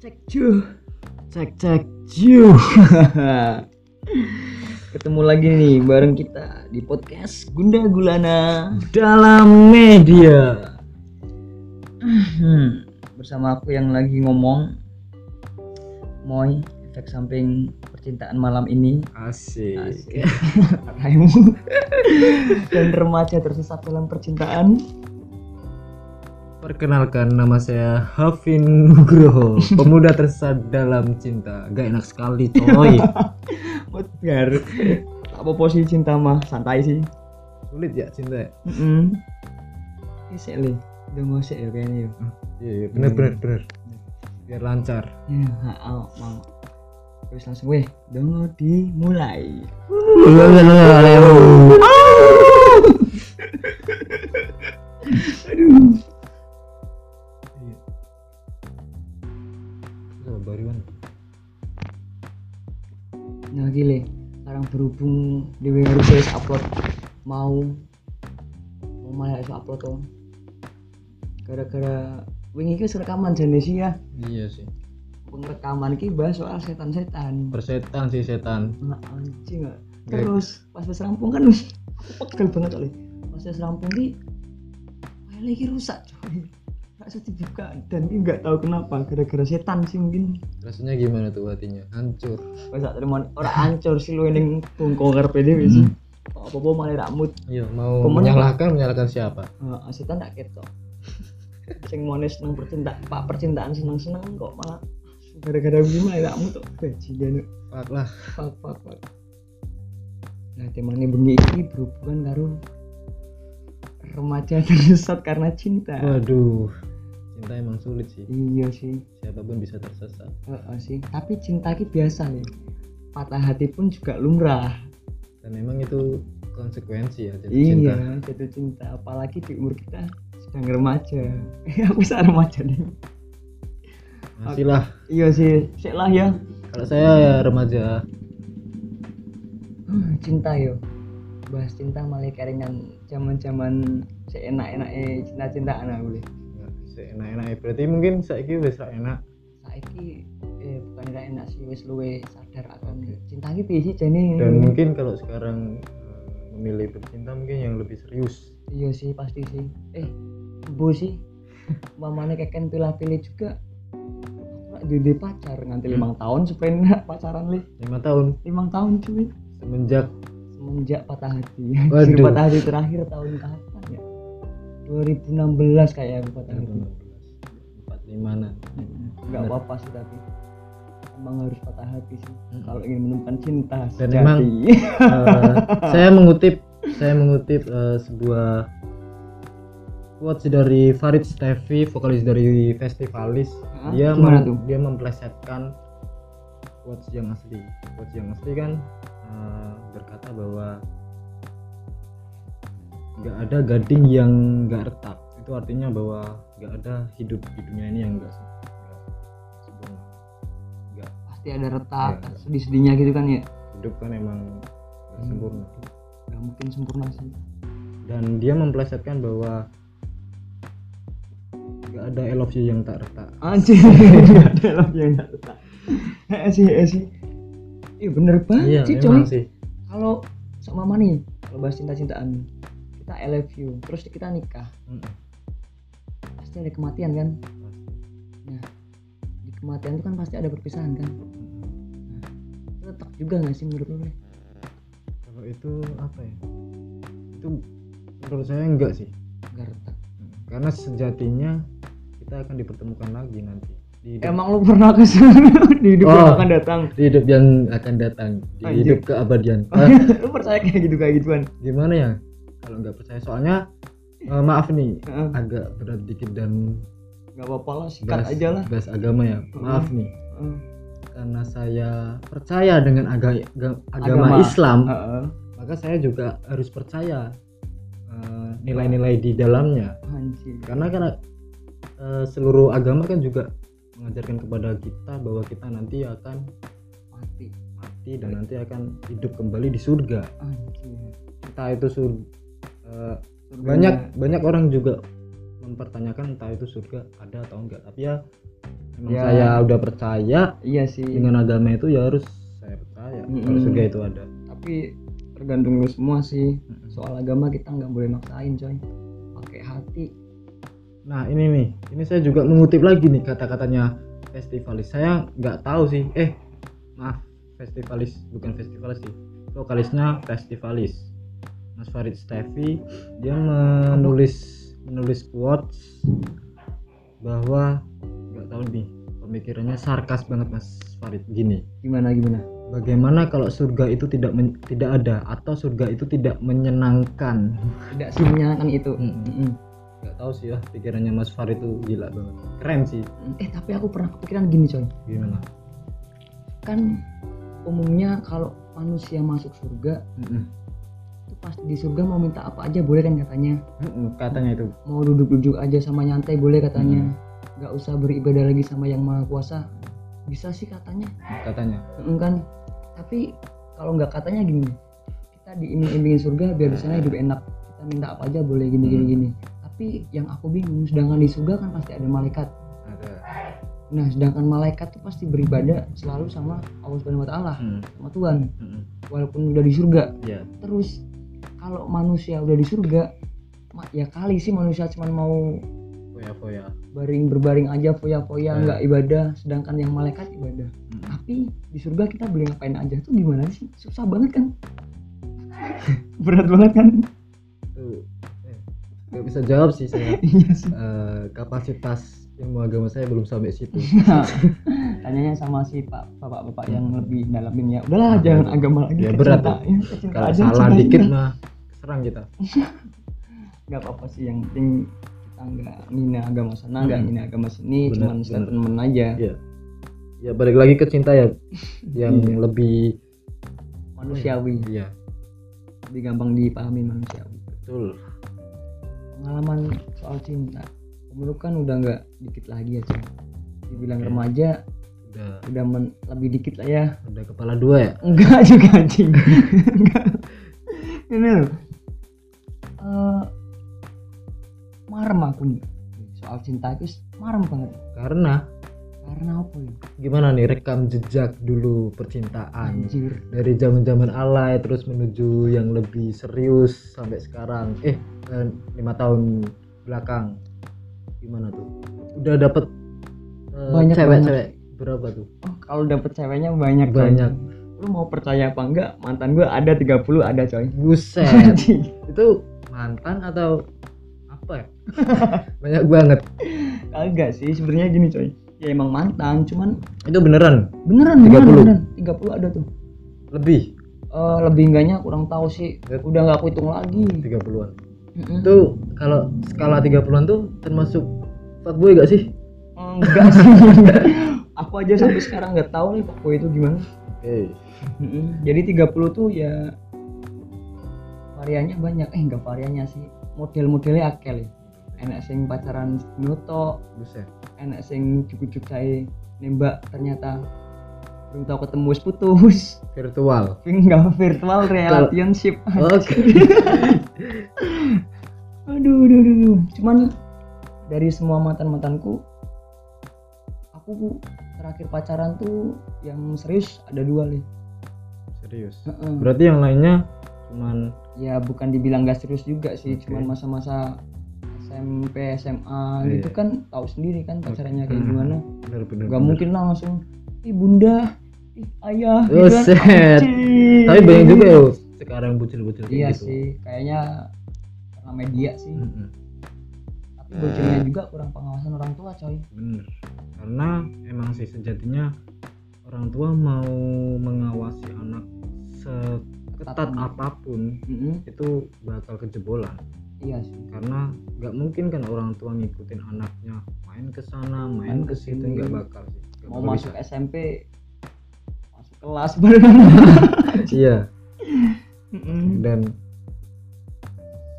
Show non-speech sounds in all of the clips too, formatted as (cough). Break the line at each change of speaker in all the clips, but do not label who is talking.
cek ju cek cek ju (laughs) ketemu lagi nih bareng kita di podcast Gunda Gulana
dalam media
Hmm, bersama aku yang lagi ngomong Moy efek samping percintaan malam ini
asik,
(laughs) Asik. Raimu dan remaja tersesat dalam percintaan
perkenalkan nama saya Hafin Nugroho pemuda tersesat dalam cinta gak enak sekali coy
Wajar tak apa posisi cinta mah santai sih
(laughs) sulit ya cinta ya
Mm Ini sih Le. udah mau sih ya kayaknya ya.
iya bener bener bener biar lancar
Ya, ha, mau. Terus langsung weh, dongo dimulai.
Oh, baruan
Nah gile, sekarang berhubung di harus saya upload mau mau malah harus upload tuh. Gara-gara wingi iki wis rekaman jenis ya,
iya sih
pengerekaman iki bahas soal setan-setan.
persetan sih setan
Nah, anjing gak?
Oke.
Terus pas wis rampung kan wis aku pegel banget oleh. Pas wis rampung ki file iki rusak coy. Gak bisa dibuka dan ini nggak tahu kenapa gara-gara setan sih mungkin.
rasanya gimana tuh hatinya hancur
Wis tak terima ora ancur sih lu ning bungkung karepe dhewe sih. Apa-apa malah rak mood.
iya mau
Pemen-
menyalahkan menyalahkan siapa
Heeh, setan tak ketok. Sing mone seneng percintaan, Pak percintaan seneng-seneng kok malah gara-gara gue malah rak mood tuh bajingan.
Pak lah
Pak, pak, pak. Nah, temane bengi iki berhubungan karo remaja tersesat karena cinta.
waduh cinta emang sulit sih
Iya sih,
siapapun bisa tersesat
heeh sih. Tapi cinta iki biasa ya. Patah hati pun juga lumrah.
dan memang itu konsekuensi ya jadi cinta
iya, jatuh cinta. Apalagi di umur kita sedang remaja. (laughs) Eh, aku saat remaja nih.
masih lah
Iya sih, sik lah ya.
kalau saya ya remaja
Hmm, cinta yo. Bahas cinta malah keringan zaman-zaman seenak-enaknya cinta-cintaan aku boleh.
enak enak berarti mungkin saya wis ra enak
saiki eh bukan nggak enak sih wis luwe sadar akan cinta iki piye sih jane
dan mungkin kalau sekarang eh, memilih bercinta mungkin yang lebih serius
iya sih pasti sih eh bu sih (laughs) mamane keken pilih-pilih juga Aku di pacar nganti
Hmm.
limang tahun supaya enak pacaran lih
lima tahun
limang tahun cuy
semenjak
semenjak patah hati (laughs)
Waduh.
Jadi patah hati terakhir tahun kapan ya 2016 kayak aku patah hati
empat lima nan
nggak
Bener.
apa-apa sih tapi emang harus patah hati sih kalau ingin menemukan cinta
Dan
sejati.
emang- Eh, saya mengutip saya mengutip eh, sebuah quotes dari Farid Stevi vokalis dari Festivalis
Hah?
dia
Gimana
mem-
tuh?
dia memplesetkan quotes yang asli quotes yang asli kan eh, berkata bahwa nggak ada gading yang nggak retak itu artinya bahwa nggak ada hidup di dunia ini yang nggak se- nggak sempurna nggak
(laughs) pasti ada retak
Iya.
sedih-sedihnya gitu kan ya
hidup kan emang nggak
Hmm.
sempurna
nggak mungkin sempurna sih
dan dia memplesetkan bahwa nggak ada I love you yang tak retak
(laughs) anjir ada lah yang nggak retak eh sih eh sih iya bener
iya
banget sih coy
memang sih
kalau sama mama nih kalau bahas cinta-cintaan kita I love you terus kita nikah
Mm-mm.
pasti ada kematian kan nah di kematian itu kan pasti ada perpisahan kan retak juga nggak sih menurut lu Le?
kalau itu apa ya itu menurut saya enggak sih
nggak retak
karena sejatinya kita akan dipertemukan lagi nanti di hidup,
emang lu pernah kesana (laughs) di hidup yang
Oh.
akan datang
di hidup yang akan datang di
Anjir.
hidup keabadian
(laughs)
Ah,
lu percaya kayak gitu kayak gituan
gimana ya kalau nggak percaya soalnya eh, maaf nih
Heeh.
agak berat dikit dan
nggak apa-apa lah sikat
bahas,
aja lah
bahas agama ya maaf nih
Heeh.
karena saya percaya dengan aga- aga- agama,
Agama. Ah.
Islam,
Heeh.
maka saya juga harus percaya eh, nilai-nilai di dalamnya.
anjir
Karena karena eh, seluruh agama kan juga mengajarkan kepada kita bahwa kita nanti akan
mati
mati dan nanti akan hidup kembali di surga.
anjir
Entah itu sur- eh,
Surga.
banyak banyak orang juga mempertanyakan entah itu surga ada atau enggak. Tapi ya Emang
Ya.
saya udah percaya
iya sih
dengan agama itu ya harus saya percaya kalau
Mm-mm.
surga itu ada.
tapi tergantung lu semua sih soal agama kita nggak boleh maksain coy pakai hati
Nah ini nih, ini saya juga mengutip lagi nih kata-katanya festivalis. Saya nggak tahu sih, eh maaf festivalis bukan festivalis sih, vokalisnya festivalis. Mas Farid Stevi dia menulis menulis quotes bahwa nggak tahu nih pemikirannya sarkas banget Mas Farid gini.
gimana gimana
Bagaimana kalau surga itu tidak men- tidak ada atau surga itu tidak menyenangkan?
tidak sih menyenangkan itu
Mm-mm.
Mm-mm.
Nggak tahu sih ya pikirannya Mas Farid itu gila banget. Keren sih.
eh tapi aku pernah kepikiran gini coy
Gimana?
kan umumnya kalau manusia masuk surga itu pasti di surga mau minta apa aja boleh kan katanya
Mm-mm, Katanya itu.
mau duduk-duduk aja sama nyantai boleh katanya nggak usah beribadah lagi sama yang maha kuasa bisa sih katanya
Katanya.
Mm, kan tapi kalau nggak katanya gini kita diiming-imingin surga biar di sana hidup enak kita minta apa aja boleh gini gini
Hmm.
gini tapi yang aku bingung sedangkan di surga kan pasti ada malaikat
Ada.
nah sedangkan malaikat tuh pasti beribadah selalu sama Allah Subhanahu Wa Taala
Mm,
sama Tuhan
mm-mm.
walaupun udah di surga
Iya.
terus kalau manusia udah di surga ma- ya kali sih manusia cuma mau
Foya-foya.
baring berbaring aja foya-foya
Hmm.
nggak ibadah sedangkan yang malaikat ibadah
Mm.
tapi di surga kita boleh ngapain aja tuh gimana sih susah banget kan (laughs) berat banget kan
Tuh. Eh, Nggak bisa jawab sih saya.
iya sih
(laughs) Eh, kapasitas ilmu agama saya belum sampai situ. (laughs)
Nah, (laughs) tanyanya sama si pak bapak-bapak yang lebih dalamin ya udahlah jangan agama lagi
Ya, berat
kecinta- kecinta
Kalau
aja,
salah
kecinta
dikit
aja.
mah serang kita.
nggak apa-apa sih yang penting kita nggak ngina agama sana nggak
Hmm.
ngina agama sini
Benar,
cuman
benar.
statement aja
Ya balik lagi ke cinta ya yang
Iya.
lebih
manusiawi
iya
lebih gampang dipahami manusiawi
betul
pengalaman soal cinta menurut kan udah nggak dikit lagi ya cuy dibilang remaja
udah
udah men- lebih dikit lah ya (laughs)
udah kepala dua ya
enggak juga anjing enggak ini loh Eh, marem aku nih soal cinta itu marem banget
karena
karena apa ya
gimana nih rekam jejak dulu percintaan
anjir
dari zaman-zaman alay terus menuju yang lebih serius sampai sekarang eh eh, lima tahun belakang gimana tuh udah dapet eh,
Banyak
cewek-cewek berapa tuh
oh kalau dapet ceweknya banyak coy.
Banyak.
lu mau percaya apa enggak mantan gue ada 30 ada coy
buset
(laughs) anjing
itu mantan atau apa ya (laughs) banyak banget
kagak sih sebenarnya gini coy ya emang mantan cuman
itu beneran
beneran beneran
30.
beneran 30 ada tuh
lebih
Eh, lebih enggaknya kurang tahu sih udah nggak aku hitung lagi
30-an
Mm-mm.
itu kalau skala 30-an tuh termasuk fuckboy gak sih?
Eh, enggak sih (laughs) aku aja sampai sekarang nggak tahu nih pokoknya itu gimana
Oke.
Mm-mm. jadi 30 tuh ya variannya banyak eh enggak variannya sih model-modelnya akeh ya enak sing pacaran nuto
Buset.
enak sing cukup saya nembak ternyata belum tahu ketemu wis putus (laughs)
Virtual.
enggak virtual relationship
Oke.
aduh aduh aduh, aduh. cuman dari semua mantan mantanku aku terakhir pacaran tuh yang serius ada dua nih
Serius.
Heeh.
Berarti yang lainnya cuman
ya bukan dibilang gak serius juga sih
Oke.
cuman masa-masa SMP SMA
Iya.
gitu kan tahu sendiri kan pacarannya kayak
Hmm.
gimana
bener-bener.
nggak mungkin lah langsung ih bunda ih ayah gitu kan.
Oh, set.
Anjing.
Tapi banyak juga ya sekarang bucil-bucil kayak
iya
gitu.
sih kayaknya karena media sih
Mm-mm.
tapi bocornya juga kurang pengawasan orang tua coy
Bener. Karena emang sih sejatinya orang tua mau mengawasi anak
Ketat.
seketat apapun itu bakal kejebolan
iya sih
karena nggak mungkin kan orang tua ngikutin anaknya main ke sana
Main
main ke
ke
situ
sini.
nggak bakal sih Nggak
mau
bakal
masuk
bisa.
SMP masuk kelas (laughs) bareng
iya
Mm-mm.
dan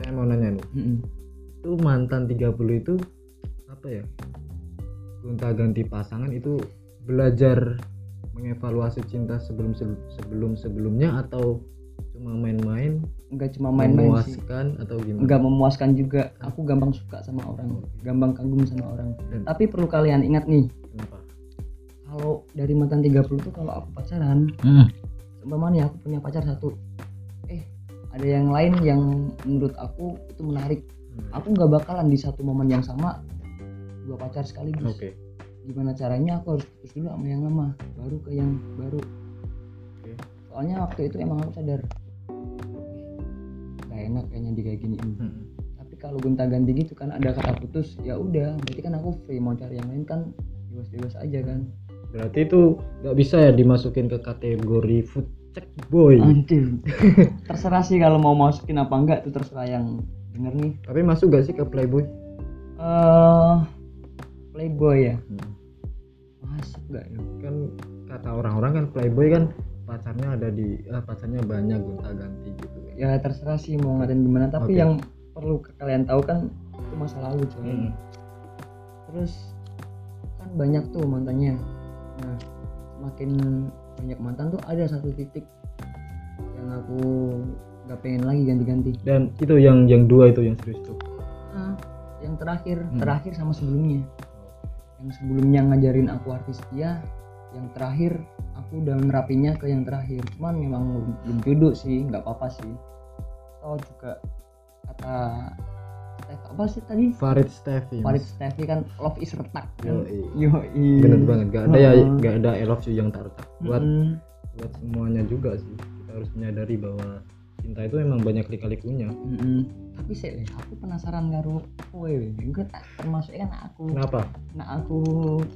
saya mau nanya nih
Mm-mm.
itu mantan 30 itu apa ya gonta ganti pasangan itu belajar mengevaluasi cinta sebelum sebelum sebelumnya atau cuma main-main
nggak cuma main-main sih
memuaskan atau gimana
nggak memuaskan juga aku gampang suka sama orang gampang kagum sama orang
Dan-
tapi perlu kalian ingat nih
kenapa
dari mantan 30 tuh kalau aku pacaran
Hmm.
umpamanya aku punya pacar satu eh ada yang lain yang menurut aku itu menarik
Hmm.
aku nggak bakalan di satu momen yang sama dua pacar sekaligus
Oke.
gimana caranya aku harus putus dulu sama yang lama baru ke yang baru
Oke.
soalnya waktu itu emang aku sadar gak enak kayaknya di kayak giniin
Hmm.
tapi kalau gonta ganti gitu kan ada kata putus ya udah berarti kan aku free mau cari yang lain kan bebas bebas aja kan
Berarti itu nggak bisa ya dimasukin ke kategori food check boy.
anjir (laughs) terserah sih kalau mau masukin apa enggak tuh terserah yang denger nih
Tapi masuk gak sih ke playboy?
eh playboy ya masuk gak ya
Hmm. Kan kata orang-orang kan playboy kan pacarnya ada di eh, pacarnya banyak gonta-ganti gitu.
ya terserah sih mau ngatain gimana tapi
Oke.
yang perlu ke- kalian tahu kan itu masa lalu coy
Hmm.
terus kan banyak tuh mantannya nah makin banyak mantan tuh ada satu titik yang aku nggak pengen lagi ganti-ganti
Dan itu yang yang dua itu yang serius tuh.
Nah, yang terakhir
Hmm.
terakhir sama sebelumnya yang sebelumnya ngajarin aku arti setia yang terakhir aku udah nerapinya ke yang terakhir cuman memang belum- belum jodoh sih nggak apa-apa sih atau juga kata Steph- apa sih tadi
Farid Stevens.
Farid Steffi kan love is retak kan
Yoi.
Yoi.
Bener banget, gak ada ya,
Heeh.
gak ada I love you yang tak retak.
Hmm.
Buat
Mm-mm.
buat semuanya juga sih kita harus menyadari bahwa cinta itu emang banyak lika-likunya
Mm-mm. tapi sih Le, aku penasaran karo kowe we. Engko tak termasuk kan aku
kenapa
nah aku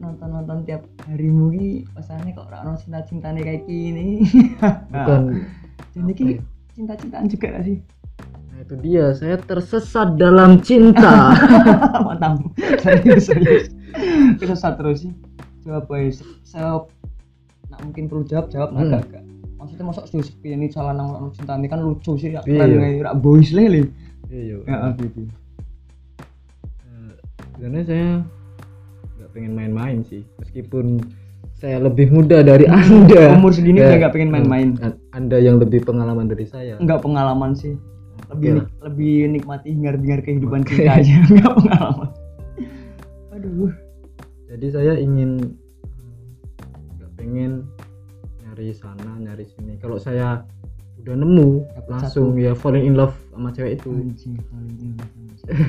nonton nonton tiap hari mugi pasangannya kok orang cinta cintanya kayak
(laughs)
gini Nah,
bukan
jadi
apa
ini
ya?
cinta cintaan juga gak sih (laughs)
nah itu dia saya tersesat dalam cinta
mantap serius serius kesesat terus sih coba boy saya nak mungkin perlu jawab jawab nah,
Hmm.
gak, gak. maksudnya masuk sih sepi ini salah nang orang cinta ini kan lucu sih ya
Iya.
keren kayak rak boys lele
iya
ya gitu
Eh, sebenarnya saya nggak pengen main-main sih meskipun saya lebih muda dari (laughs) anda
umur segini
Ya.
udah gak pengen main-main
An- anda yang lebih pengalaman dari saya
nggak pengalaman sih
Oke
lebih
lah.
lebih nikmati hingar-bingar kehidupan cinta aja (laughs) nggak pengalaman aduh
jadi saya ingin eh, nggak pengen nyari sana nyari sini kalau saya udah nemu
Dapet
langsung ya falling in love sama cewek itu
anjing paling gila. (laughs)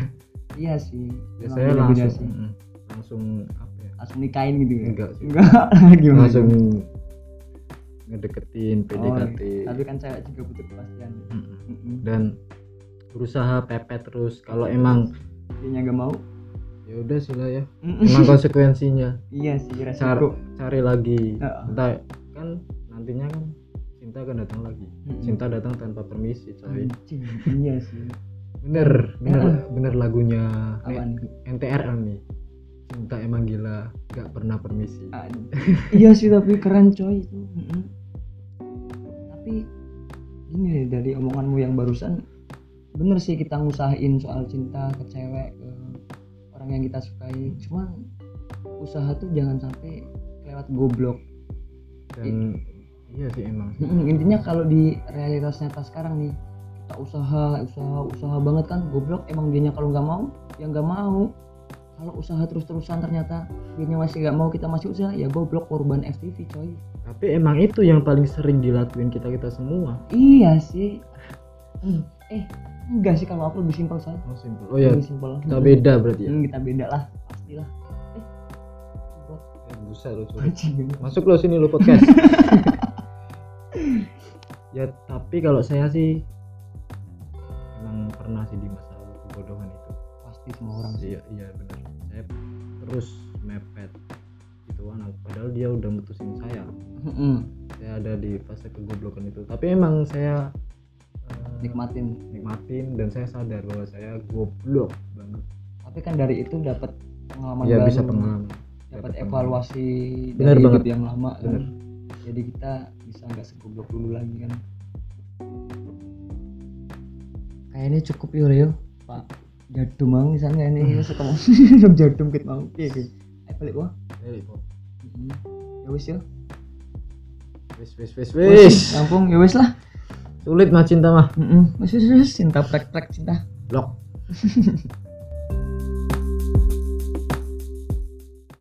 iya sih
ya
emang
saya
beda-beda
langsung
sih.
mm, langsung apa ya
langsung nikahin gitu ya
enggak sih
enggak (laughs) gimana
langsung ngedeketin PDKT
Oh, tapi kan cewek juga butuh kepastian
Mm-mm.
Mm-mm.
Hmm, dan berusaha pepet terus kalau emang
dianya nggak mau
ya udah sih lah
(laughs)
ya
Mm-mm.
emang konsekuensinya
iya sih
cari
resiko
cari lagi
Heeh.
entah kan nantinya kan cinta akan datang lagi
Mm-mm.
cinta datang tanpa permisi coy
Anjing, iya sih
bener bener
Heeh.
bener lagunya
apa nih
NTRL nih cinta emang gila gak pernah permisi
Aduh. iya sih tapi keren coy itu Mm-mm. tapi ini deh, dari omonganmu yang barusan bener sih kita ngusahain soal cinta ke cewek ke orang yang kita sukai cuman usaha tuh jangan sampai lewat goblok
dan iya sih emang sih.
Mm-mm, intinya kalau di realitas nyata sekarang nih kita usaha usaha usaha banget kan goblok emang dianya kalau nggak mau ya nggak mau kalau usaha terus-terusan ternyata dianya masih nggak mau kita masih usaha ya goblok korban FTV coy
tapi emang itu yang paling sering dilakuin kita kita semua
Iya sih. Hmm, Eh, enggak sih kalau aku lebih simpel soalnya.
oh simple oh ya
Lebih simpel.
kita beda berarti ya
Hmm, kita beda lah, pastilah. Eh, buat
Eh, buset lo cuy.
bajingan.
masuk lo sini lo podcast ya tapi kalau saya sih emang pernah sih di masa lalu kebodohan itu
Pasti semua Oh, orang sih.
iya iya benar saya terus mepet gitu anak padahal dia udah mutusin saya
Mm-mm,
saya ada di fase kegoblokan itu tapi emang saya eh,
Nikmatin.
nikmatin dan saya sadar bahwa saya goblok banget
Tapi kan dari itu dapat pengalaman
ya
baru.
bisa pengalaman
Dapat
Dapat
evaluasi
Benar
dari
banget.
hidup yang lama kan.
Benar.
Jadi kita bisa nggak segoblok dulu lagi kan. Kayaknya cukup ya Leo. Pak jadum mau misalnya
(laughs)
ini suka mau (laughs) jadum kita mau. Oke, oke. Ayo balik wah.
Elik, kok.
Mm. Ya wis ya.
wis wis wis wis
Lampung ya wis lah.
sulit mah cinta mah
Heeh. Wis wis wis cinta prek prek cinta.
blok